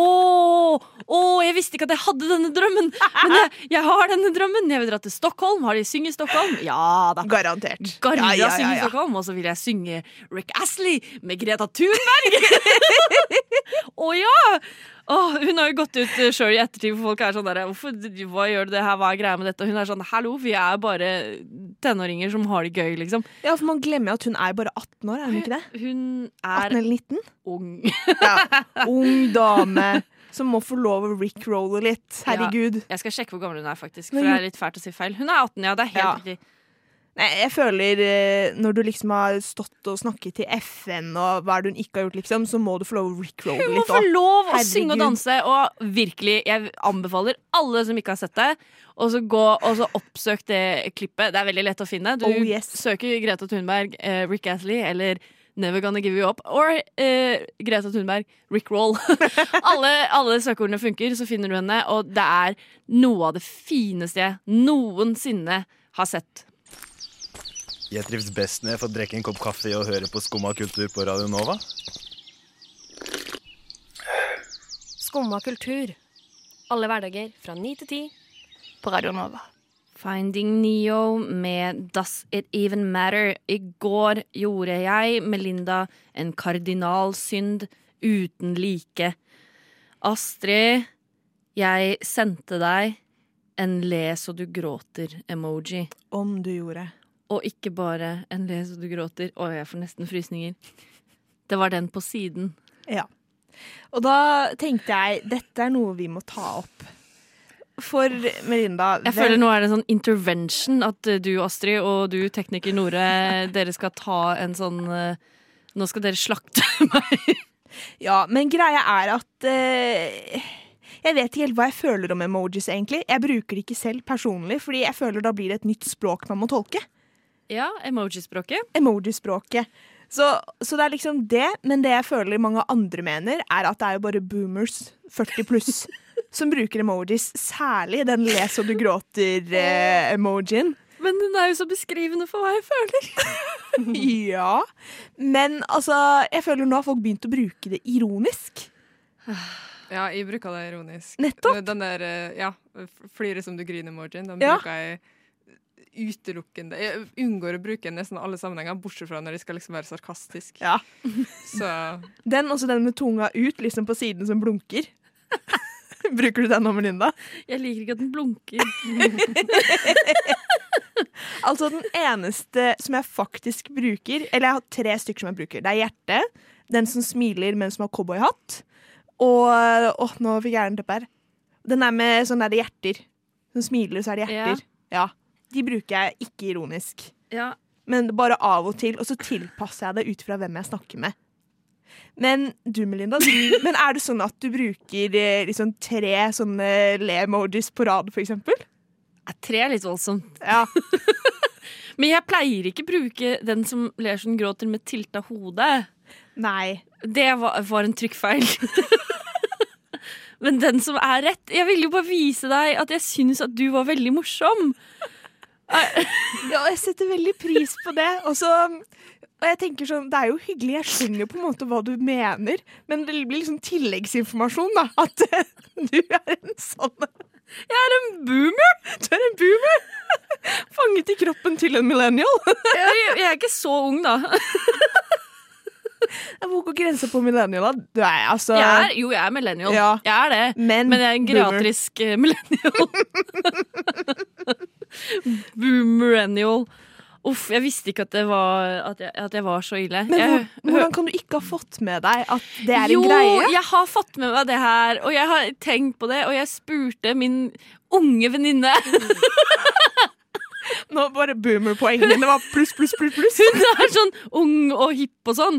[SPEAKER 3] å, jeg visste ikke at jeg hadde denne drømmen, men jeg, jeg har denne drømmen. Jeg vil dra til Stockholm. Har de syng i Stockholm? Ja da.
[SPEAKER 5] Garantert.
[SPEAKER 3] Garda
[SPEAKER 5] Ja, ja, ja,
[SPEAKER 3] synge i
[SPEAKER 5] ja.
[SPEAKER 3] Stockholm, og så vil jeg synge Rick Astley med Greta Thunberg! *laughs* Å ja! Åh, hun har jo gått ut eh, sjøl i ettertid, for folk er sånn der Hvorfor, Hva gjør du det her, hva er greia med dette? Og hun er sånn Hallo, vi er bare tenåringer som har det gøy, liksom.
[SPEAKER 5] Ja, for man glemmer at hun er bare 18 år, er hun ikke det?
[SPEAKER 3] Hun
[SPEAKER 5] 18
[SPEAKER 3] er
[SPEAKER 5] eller 19?
[SPEAKER 3] ung.
[SPEAKER 5] Ung dame som må få lov å rickrolle litt.
[SPEAKER 3] *laughs*
[SPEAKER 5] Herregud.
[SPEAKER 3] Jeg skal sjekke hvor gammel hun er, faktisk.
[SPEAKER 5] Men
[SPEAKER 3] For det
[SPEAKER 5] jo-
[SPEAKER 3] er litt fælt å si feil. Hun er 18, ja. Det er helt
[SPEAKER 5] Ja.
[SPEAKER 3] riktig.
[SPEAKER 5] Nei, jeg føler eh, når du liksom har stått og snakket til FN og hva er det hun ikke har gjort, liksom, så må du få lov å rickrolle
[SPEAKER 3] Hun må
[SPEAKER 5] litt
[SPEAKER 3] få
[SPEAKER 5] òg.
[SPEAKER 3] lov å
[SPEAKER 5] Herregud.
[SPEAKER 3] synge og danse, og virkelig, jeg anbefaler alle som ikke har sett det, å så gå og så oppsøk det klippet. Det er veldig lett å finne. Du
[SPEAKER 5] Oh, yes.
[SPEAKER 3] søker Greta Thunberg, eh, Rick Astley eller Never Gonna Give You Up. Or eh, Greta Thunberg, Rick Roll. *laughs* alle, alle søkeordene funker, så finner du henne, og det er noe av det fineste jeg noensinne har sett.
[SPEAKER 9] Jeg trives best når jeg får drikke en kopp kaffe og høre på Skumma kultur på Radio Nova.
[SPEAKER 11] Skumma kultur. Alle hverdager fra ni til ti på Radio Nova.
[SPEAKER 3] Finding Neo med Does It Even Matter? I går gjorde jeg, Melinda, en kardinalsynd uten like. Astrid, jeg sendte deg en le så du gråter-emoji.
[SPEAKER 5] Om du gjorde.
[SPEAKER 3] Og ikke bare en le så du gråter. Å, jeg får nesten frysninger. Det var den på siden.
[SPEAKER 5] Ja. Og da tenkte jeg dette er noe vi må ta opp. For Melinda
[SPEAKER 3] Jeg føler nå er det en sånn intervention at eh, du, Astrid, og du, tekniker Nore, *laughs* dere skal ta en sånn eh, Nå skal dere slakte *laughs* meg.
[SPEAKER 5] Ja, men greia er at eh, Jeg vet ikke helt hva jeg føler om emojis, egentlig. Jeg bruker det ikke selv personlig, fordi jeg føler da blir det et nytt språk man må tolke.
[SPEAKER 3] Ja, emojispråket.
[SPEAKER 5] Emojispråket. Så, så det er liksom det, men det jeg føler mange andre mener, er at det er jo bare boomers 40 pluss som bruker emojis. Særlig den les og du eh, gråter-emojien.
[SPEAKER 3] Men den er jo så beskrivende for hva jeg føler.
[SPEAKER 5] ja. Men altså, jeg føler nå har folk begynt å bruke det ironisk.
[SPEAKER 4] Ja, jeg bruker det ironisk.
[SPEAKER 5] Nettopp.
[SPEAKER 4] Den der eh, ja, f- flire som du griner-emojien, den
[SPEAKER 5] Ja.
[SPEAKER 4] bruker jeg utelukkende. Jeg unngår å bruke den i nesten alle sammenhenger, bortsett fra når jeg skal liksom være sarkastisk.
[SPEAKER 5] Ja.
[SPEAKER 4] *laughs* Så
[SPEAKER 5] Den, også den med tunga ut, liksom på siden som blunker. *laughs* Bruker du den nå, Melinda?
[SPEAKER 3] Jeg liker ikke at den blunker.
[SPEAKER 5] Altså, den eneste som jeg faktisk bruker, eller jeg har tre stykker som jeg bruker, det er hjertet, den som smiler, men som har cowboyhatt, og åh, nå fikk jeg jernteppe her. Den er med sånne der hjerter. Som smiler, så er det hjerter. Ja. De bruker jeg ikke ironisk.
[SPEAKER 3] *laughs* Ja,
[SPEAKER 5] Men bare av og til, og så tilpasser jeg det ut fra hvem jeg snakker med. Men du, Melinda, *laughs* du, men er det sånn at du bruker eh, liksom tre sånne le-emojis på rad, for eksempel?
[SPEAKER 3] er Tre er litt voldsomt.
[SPEAKER 5] Ja.
[SPEAKER 3] Men jeg pleier ikke bruke den som ler som gråter med tilta hode.
[SPEAKER 5] Nei.
[SPEAKER 3] Det var, var en trykkfeil. *laughs* Men den som er rett Jeg ville jo bare vise deg at jeg syns at du var veldig morsom.
[SPEAKER 5] Ja, og jeg setter veldig pris på det. Og så og jeg tenker sånn, Det er jo hyggelig, jeg skjønner jo på en måte hva du mener, men det blir liksom tilleggsinformasjon, da. At *laughs* eh, du er en sånn Jeg er en boomer! Du er en boomer! *laughs* Fanget i kroppen til en millennial. *laughs*
[SPEAKER 3] Jeg, jeg er ikke så ung, da.
[SPEAKER 5] på grensa på millennial. da. Du er altså
[SPEAKER 3] Jeg er, jo, jeg er millennial.
[SPEAKER 5] Ja.
[SPEAKER 3] Jeg er det.
[SPEAKER 5] Men
[SPEAKER 3] jeg er en
[SPEAKER 5] boomer.
[SPEAKER 3] gratrisk eh, millennial. *laughs* Boomerennial. Uff, jeg visste ikke at, det var, at, jeg, at jeg var så ille.
[SPEAKER 5] Men
[SPEAKER 3] jeg,
[SPEAKER 5] hvor- hvordan kan du ikke ha fått med deg at det er en
[SPEAKER 3] jo,
[SPEAKER 5] greie?
[SPEAKER 3] jeg har fått med meg det her, og jeg har tenkt på det, og jeg spurte min unge venninne
[SPEAKER 5] Nå bare boomer-poengene. Det var pluss, pluss, pluss. pluss.
[SPEAKER 3] Hun *laughs* er sånn ung og hipp og sånn.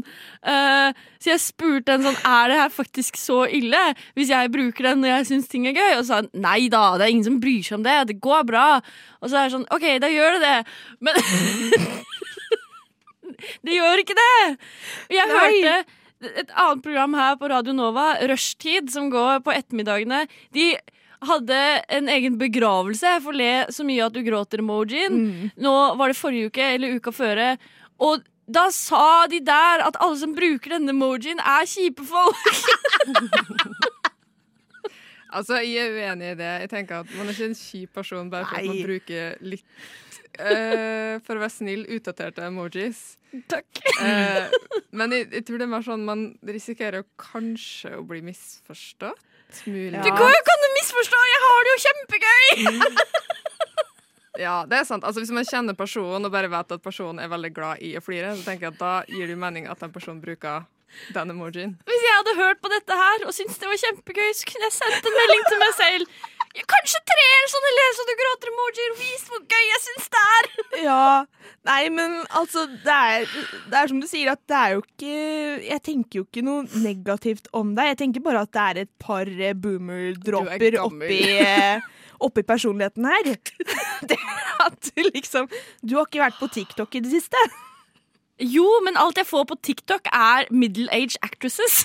[SPEAKER 3] Eh, så jeg spurte henne sånn Er det her faktisk så ille hvis jeg bruker den når jeg syns ting er gøy? Og så sa hun nei da, det er ingen som bryr seg om det. Det går bra. Og så er det sånn OK, da gjør det det. Men *laughs* det gjør ikke det! Og Jeg
[SPEAKER 5] Nei.
[SPEAKER 3] hørte et annet program her på Radio Nova, Rushtid, som går på ettermiddagene. De hadde en egen begravelse for le så mye at du gråter-emojien. Nå var det forrige uke eller uka føre. Og da sa de der at alle som bruker denne emojien, er kjipe folk.
[SPEAKER 4] Altså, Jeg er uenig i det. Jeg tenker at Man er ikke en kjip person bare for at
[SPEAKER 5] Nei.
[SPEAKER 4] man bruker litt eh, For å være snill, utdaterte
[SPEAKER 5] *laughs*
[SPEAKER 4] emojis.
[SPEAKER 3] *laughs*
[SPEAKER 4] Eh,
[SPEAKER 3] Takk.
[SPEAKER 4] men jeg, jeg tror det er mer sånn man risikerer jo kanskje å bli misforstått. Mulig.
[SPEAKER 3] Det går jo ikke an å misforstå! Jeg har det jo kjempegøy!
[SPEAKER 4] Ja, det er sant. Altså, Hvis man kjenner personen og bare vet at personen er veldig glad i å flire, så tenker jeg at da gir det jo mening at den personen bruker den emojien.
[SPEAKER 3] Hvis jeg hadde hørt på dette her og syntes det var kjempegøy, så kunne jeg sendt en melding til meg selv. Kanskje tre eller sånne eller sånne gråter-emojier og vist hvor gøy jeg syns det er!
[SPEAKER 5] Ja. Nei, men altså det er, det er som du sier, at det er jo ikke Jeg tenker jo ikke noe negativt om deg. Jeg tenker bare at det er et par eh, boomer-dråper
[SPEAKER 4] gammel.
[SPEAKER 5] oppi, eh, oppi personligheten her. *laughs* Det at du liksom Du har ikke vært på TikTok i det siste.
[SPEAKER 3] Jo, men alt jeg får på TikTok, er middle-age
[SPEAKER 5] *laughs*
[SPEAKER 3] actresses.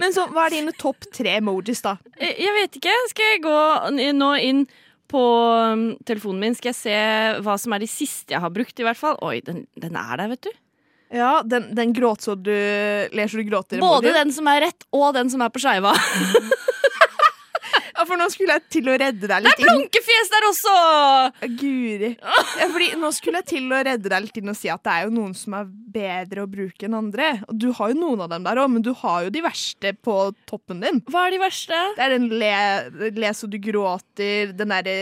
[SPEAKER 5] Men så, hva er dine topp tre emojis, da?
[SPEAKER 3] Eh, Jeg vet ikke. Skal jeg gå n- nå inn på um, telefonen min? Skal jeg se hva som er de siste jeg har brukt, i hvert fall? Oi, den, den er der, vet du.
[SPEAKER 5] Ja, den, den gråt så du Ler så du gråter.
[SPEAKER 3] Både
[SPEAKER 5] emojien.
[SPEAKER 3] den som er rett, og den som er på skeiva.
[SPEAKER 5] Ja, for nå skulle jeg til å redde deg
[SPEAKER 3] Det
[SPEAKER 5] litt
[SPEAKER 3] er plunkefjes der også!
[SPEAKER 5] Guri. Ja, fordi nå skulle jeg til å redde deg litt inn og si at det er jo noen som er bedre å bruke enn andre. Og du har jo noen av dem der òg, men du har jo de verste på toppen din.
[SPEAKER 3] Hva er de verste?
[SPEAKER 5] Det er den le, le så du gråter, den derre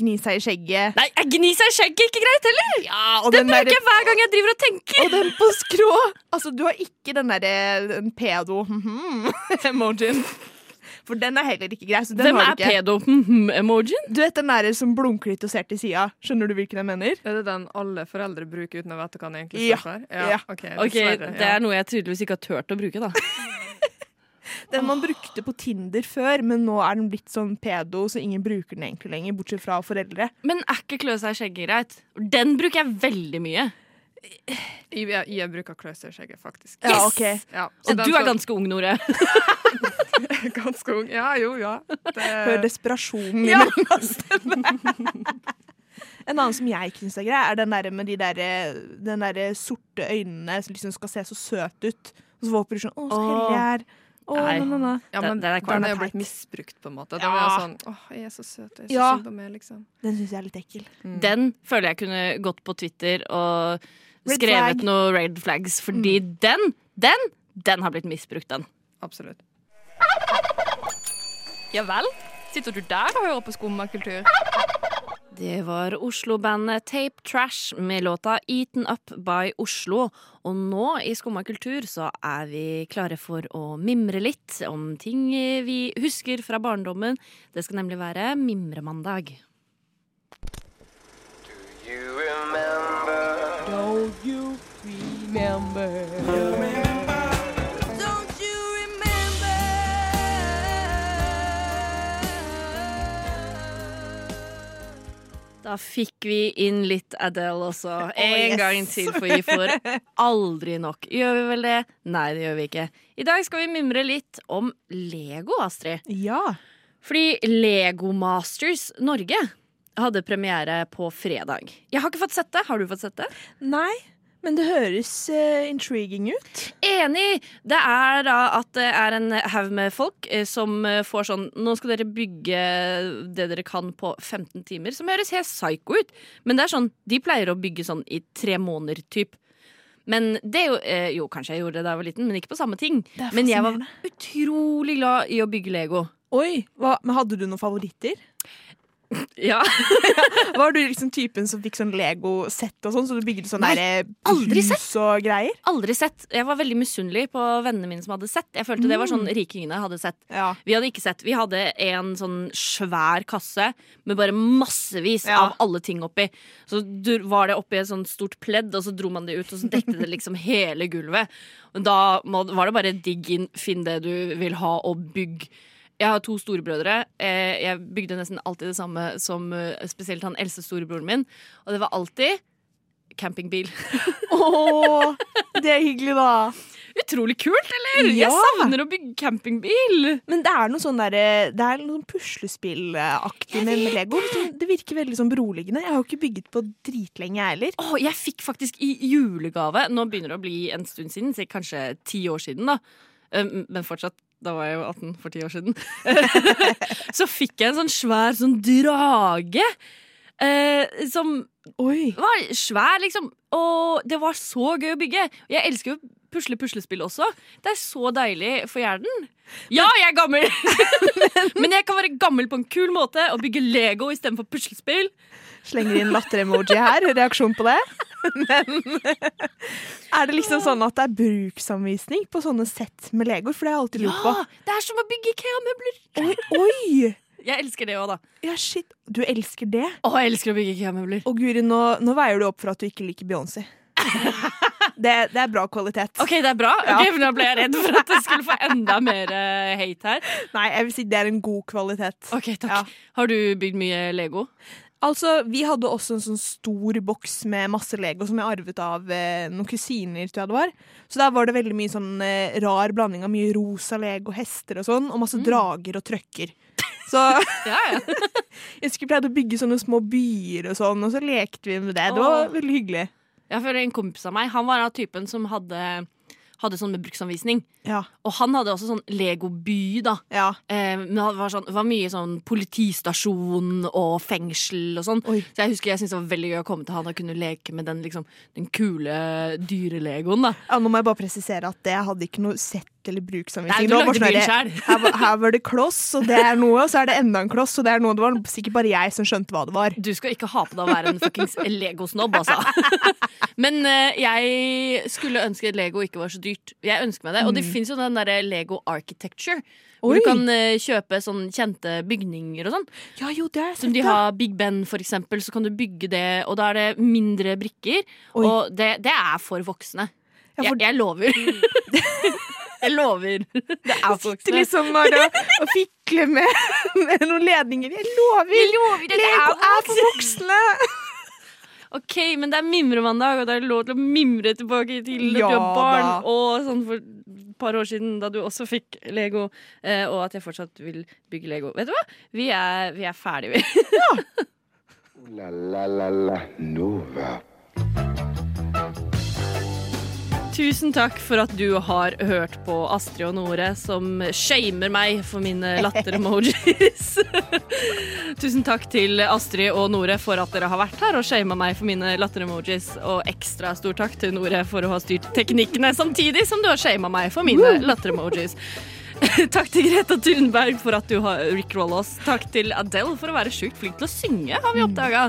[SPEAKER 5] gni seg i skjegget.
[SPEAKER 3] Nei, jeg gni seg i skjegget ikke greit heller!
[SPEAKER 5] Ja, og
[SPEAKER 3] den,
[SPEAKER 5] den
[SPEAKER 3] bruker
[SPEAKER 5] der-
[SPEAKER 3] jeg hver gang jeg driver og tenker.
[SPEAKER 5] Og den på skrå! Altså, du har ikke den derre *laughs* pedo-emojien. For den er heller ikke grei. Så den
[SPEAKER 3] Hvem er
[SPEAKER 5] har
[SPEAKER 3] Hm,
[SPEAKER 5] du ikke.
[SPEAKER 3] pedo-emojien?
[SPEAKER 5] Du vet den derre som blunker litt og ser til sida. Skjønner du hvilken jeg mener?
[SPEAKER 4] Er det den alle foreldre bruker uten å vite hva den egentlig
[SPEAKER 5] Ja.
[SPEAKER 4] står for?
[SPEAKER 5] Ja.
[SPEAKER 4] ok,
[SPEAKER 3] Ok,
[SPEAKER 4] dessverre,
[SPEAKER 3] Det
[SPEAKER 4] ja.
[SPEAKER 3] er noe jeg tydeligvis ikke har turt å bruke, da.
[SPEAKER 5] Den man brukte på Tinder før, men nå er den blitt sånn pedo, så ingen bruker den egentlig lenger, bortsett fra foreldre.
[SPEAKER 3] Men er ikke klø seg i skjegget greit? Den bruker jeg veldig mye.
[SPEAKER 4] Jeg, jeg bruker kløsterskjegget, faktisk.
[SPEAKER 5] Ja, Yes! ok.
[SPEAKER 4] Ja,
[SPEAKER 3] Og
[SPEAKER 4] den
[SPEAKER 3] du er
[SPEAKER 4] som-
[SPEAKER 3] ganske ung, Nore.
[SPEAKER 4] *laughs* ganske ung. Ja, jo, ja. Det,
[SPEAKER 5] Hør desperasjonen i
[SPEAKER 4] Ja.
[SPEAKER 5] mellomstemmen. En annen som jeg ikke syns er grei, er den der med de der, den der sorte øynene som liksom skal se så søt ut. Og så håper du sånn Å, så heldig jeg er. Å,
[SPEAKER 3] Nei.
[SPEAKER 5] na, na, na.
[SPEAKER 4] ja,
[SPEAKER 3] Den-
[SPEAKER 4] men
[SPEAKER 3] den er
[SPEAKER 4] den,
[SPEAKER 3] kvalm.
[SPEAKER 4] er jo blitt
[SPEAKER 5] teit.
[SPEAKER 4] misbrukt, på en måte. Den er
[SPEAKER 5] Ja.
[SPEAKER 4] jo sånn åh, jeg er så søt, jeg er så
[SPEAKER 5] Ja.
[SPEAKER 4] synd om meg, liksom.
[SPEAKER 5] Den syns jeg er litt ekkel.
[SPEAKER 3] Den føler jeg kunne gått på Twitter og
[SPEAKER 5] Red
[SPEAKER 3] skrevet
[SPEAKER 5] flag. Mm.
[SPEAKER 3] noe red flags, fordi den, den, den har blitt misbrukt, den.
[SPEAKER 4] Absolutt.
[SPEAKER 11] Ja vel? Sitter du der og hører på skummakultur?
[SPEAKER 3] Det var Oslo-bandet Tape Trash med låta Eaten Up by Oslo. Og nå i Skumma kultur så er vi klare for å mimre litt om ting vi husker fra barndommen. Det skal nemlig være Mimremandag. Da fikk vi inn litt Adele også. En
[SPEAKER 5] yes.
[SPEAKER 3] gang til, for vi får aldri nok. Gjør vi vel det? Nei, det gjør vi ikke. I dag skal vi mimre litt om Lego, Astrid.
[SPEAKER 5] Ja.
[SPEAKER 3] Fordi Lego Masters Norge hadde premiere på fredag. Jeg har ikke fått sett det. Har du fått sett det?
[SPEAKER 5] Nei. Men det høres eh, intriguing ut.
[SPEAKER 3] Enig! Det er da at det er en haug med folk eh, som eh, får sånn Nå skal dere bygge det dere kan på 15 timer, som høres helt psycho ut. Men det er sånn, de pleier å bygge sånn i tre måneder, typ. Men det er jo, eh, jo, kanskje jeg gjorde det da jeg var liten, men ikke på samme ting.
[SPEAKER 5] er
[SPEAKER 3] Men jeg var utrolig glad i å bygge Lego.
[SPEAKER 5] Oi, hva, men Hadde du noen favoritter?
[SPEAKER 3] Ja.
[SPEAKER 5] var du liksom typen som fikk sånn Lego-sett og sånn, så du bygde sånn
[SPEAKER 3] Nei,
[SPEAKER 5] der, eh,
[SPEAKER 3] aldri
[SPEAKER 5] hus og greier?
[SPEAKER 3] Aldri sett. Jeg var veldig misunnelig på vennene mine som hadde sett. Jeg følte det var sånn
[SPEAKER 5] Mm.
[SPEAKER 3] rikingene hadde sett. Vi hadde ikke sett. Vi hadde en sånn svær kasse med bare massevis av alle ting oppi. Så du, var det oppi et sånt stort pledd, og så dro man det ut, og så dekte det liksom hele gulvet. Og Da må, var det bare digg inn, finn det du vil ha, og bygg. Jeg har to storebrødre. Eh, Jeg bygde nesten alltid det samme som eh, spesielt han eldste storebroren min. Og det var alltid campingbil.
[SPEAKER 5] Åh, det er hyggelig, da.
[SPEAKER 3] Utrolig kult, eller?
[SPEAKER 5] Ja.
[SPEAKER 3] Jeg savner å bygge campingbil.
[SPEAKER 5] Men det er noe sånn der, eh, det er noe sånn puslespillaktig med med Lego. Liksom, Det virker veldig sånn beroligende. Jeg har jo ikke bygget på dritlenge, jeg heller.
[SPEAKER 3] Åh, jeg fikk faktisk i julegave Nå begynner det å bli en stund siden, så kanskje ti år siden. da Um, Men fortsatt, da var jeg jo 18 for ti år siden. *laughs* så fikk jeg en sånn svær sånn drage. eh, som var svær, liksom. Og det var så gøy å bygge. Jeg elsker jo pusle puslespill også. Det er så deilig for hjernen. Ja, jeg er gammel! *laughs* Men jeg kan være gammel på en kul måte og bygge Lego istedenfor puslespill.
[SPEAKER 5] Slenger inn latter-emoji her, reaksjon på det. Men *laughs* er det liksom sånn at det er bruksanvisning på sånne sett med Legoer? For det har jeg alltid lurt på.
[SPEAKER 3] Ja, det er som å bygge IKEA-møbler.
[SPEAKER 5] Oi, oi!
[SPEAKER 3] Jeg elsker det òg, da.
[SPEAKER 5] Ja, shit. Du elsker det?
[SPEAKER 3] Å, jeg elsker å bygge IKEA-møbler.
[SPEAKER 5] Og Guri, nå, nå veier du opp for at du ikke liker *laughs* Beyoncé. Det, det er bra kvalitet.
[SPEAKER 3] Ok, det er bra.
[SPEAKER 5] Ja.
[SPEAKER 3] Ok, men Da ble jeg redd for at jeg skulle få enda mer eh, hate her.
[SPEAKER 5] Nei, jeg vil si det er en god kvalitet.
[SPEAKER 3] Ok, takk. Har du bygd mye Lego?
[SPEAKER 5] Altså, Vi hadde også en sånn stor boks med masse Lego som jeg arvet av eh, noen kusiner. tror jeg det var. Så der var det veldig mye sånn eh, rar blanding av mye rosa Lego, hester og sånn, og masse
[SPEAKER 3] Mm.
[SPEAKER 5] drager og trøkker. Så *laughs* jeg skulle pleide å bygge sånne små byer og sånn, og så lekte vi med det. Det var
[SPEAKER 3] Åh.
[SPEAKER 5] veldig hyggelig.
[SPEAKER 3] *laughs* Jeg føler En kompis av meg han var av typen som hadde, hadde sånn med bruksanvisning.
[SPEAKER 5] Ja.
[SPEAKER 3] Og han hadde også sånn Lego-by, da. Eh, men det var, sånn, det var mye sånn politistasjon og fengsel og sånn. Så jeg husker jeg syntes det var veldig gøy å komme til han og kunne leke med den, liksom, den kule dyrelegoen. da
[SPEAKER 5] Ja, nå må jeg bare presisere at det hadde ikke noe sett eller
[SPEAKER 3] Nei,
[SPEAKER 5] bruksanvisning.
[SPEAKER 3] du
[SPEAKER 5] Det var
[SPEAKER 3] lagde
[SPEAKER 5] bare sånn
[SPEAKER 3] byen
[SPEAKER 5] her,
[SPEAKER 3] selv.
[SPEAKER 5] Her, var-
[SPEAKER 3] *laughs*
[SPEAKER 5] her var det kloss, og det er noe, og så er det enda en kloss, og det er noe. Det var sikkert bare jeg som skjønte hva det var.
[SPEAKER 3] Du skal ikke ha på deg å være en fuckings Lego-snobb, altså. *laughs* Men eh, jeg skulle ønske Lego ikke var så dyrt. Jeg ønsker meg det. Og det
[SPEAKER 10] Mm.
[SPEAKER 3] fins jo den derre Lego Architecture.
[SPEAKER 10] Oi.
[SPEAKER 3] Hvor du kan eh, kjøpe sånn kjente bygninger og sånn.
[SPEAKER 5] Ja, jo, det har jeg
[SPEAKER 3] Som
[SPEAKER 5] sett,
[SPEAKER 3] de
[SPEAKER 5] ja.
[SPEAKER 3] har Big Ben, for eksempel. Så kan du bygge det, og da er det mindre brikker. Og det, det er for voksne. jeg, jeg lover. *laughs* jeg lover. Det er for
[SPEAKER 5] sitter
[SPEAKER 3] voksne.
[SPEAKER 5] liksom bare og, og fikler med, *laughs* med noen ledninger. Jeg lover!
[SPEAKER 3] Jeg lover, dette
[SPEAKER 5] Lego
[SPEAKER 3] er
[SPEAKER 5] er for voksne!
[SPEAKER 3] Ok, men det er mimremandag, og det er lov til å mimre tilbake til
[SPEAKER 5] Ja
[SPEAKER 3] at du er barn.
[SPEAKER 5] da.
[SPEAKER 3] Og sånn for et par år siden, da du også fikk Lego, eh, og at jeg fortsatt vil bygge Lego. Vet du hva? Vi er, vi er ferdige, vi.
[SPEAKER 2] La, la, la, la Nova.
[SPEAKER 3] Tusen takk for at du har hørt på Astrid og Nore, som shamer meg for mine latter-emojis. *laughs* Tusen takk til Astrid og Nore for at dere har vært her og shama meg for mine latter-emojis. Og ekstra stor takk til Nore for å ha styrt teknikkene, samtidig som du har shama meg for mine latter-emojis. *laughs* Takk til Greta Thunberg for at du har rickrolla oss. Takk til Adele for å være sjukt flink til å synge, har vi oppdaga.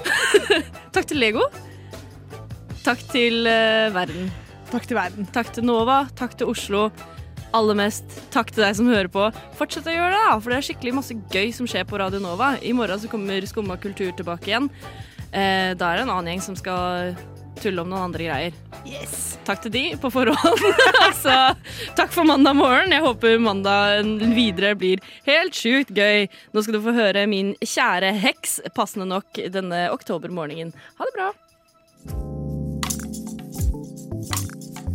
[SPEAKER 3] *laughs* Takk til Lego. Takk til eh, verden.
[SPEAKER 5] Takk til verden.
[SPEAKER 3] Takk til Nova. Takk til Oslo. Aller mest takk til deg som hører på. Fortsett å gjøre det, da, for det er skikkelig masse gøy som skjer på Radio Nova. I morgen så kommer Skumma kultur tilbake igjen. Eh, da er det en annen gjeng som skal tulle om noen andre greier. Takk til de på forhånd. *laughs* altså, takk for mandag morgen. Jeg håper mandagen videre blir helt sjukt gøy. Nå skal du få høre min kjære heks, passende nok denne oktobermorgenen. Ha det bra.